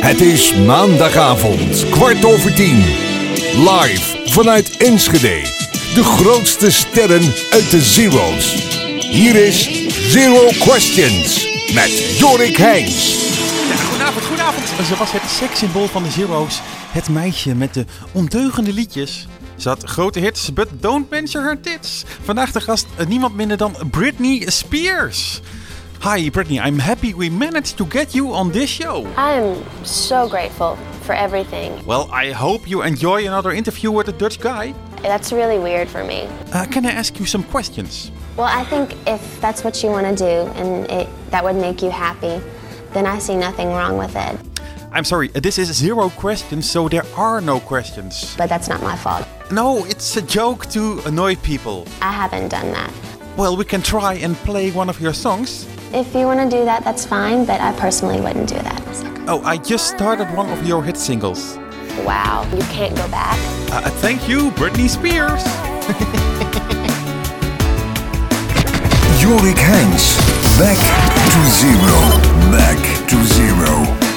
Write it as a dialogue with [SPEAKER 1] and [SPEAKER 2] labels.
[SPEAKER 1] Het is maandagavond, kwart over tien. Live vanuit Enschede. De grootste sterren uit de Zero's. Hier is Zero Questions met Jorik Heijns.
[SPEAKER 2] Ja, goedenavond, goedenavond. Ze was het sekssymbool van de Zero's. Het meisje met de ondeugende liedjes. Ze had grote hits, but don't mention her tits. Vandaag de gast eh, niemand minder dan Britney Spears. Hi Britney, I'm happy we managed to get you on this show.
[SPEAKER 3] I am so grateful for everything.
[SPEAKER 2] Well, I hope you enjoy another interview with a Dutch guy.
[SPEAKER 3] That's really weird for me.
[SPEAKER 2] Uh, can I ask you some questions?
[SPEAKER 3] Well, I think if that's what you want to do and it, that would make you happy, then I see nothing wrong with it.
[SPEAKER 2] I'm sorry, uh, this is zero questions, so there are no questions.
[SPEAKER 3] But that's not my fault.
[SPEAKER 2] No, it's a joke to annoy people.
[SPEAKER 3] I haven't done that.
[SPEAKER 2] Well, we can try and play one of your songs.
[SPEAKER 3] If you want to do that, that's fine, but I personally wouldn't do that.
[SPEAKER 2] Oh, I just started one of your hit singles.
[SPEAKER 3] Wow, you can't go back.
[SPEAKER 2] Uh, thank you, Britney Spears.
[SPEAKER 1] Jorik Heijns, back to zero. Back to zero.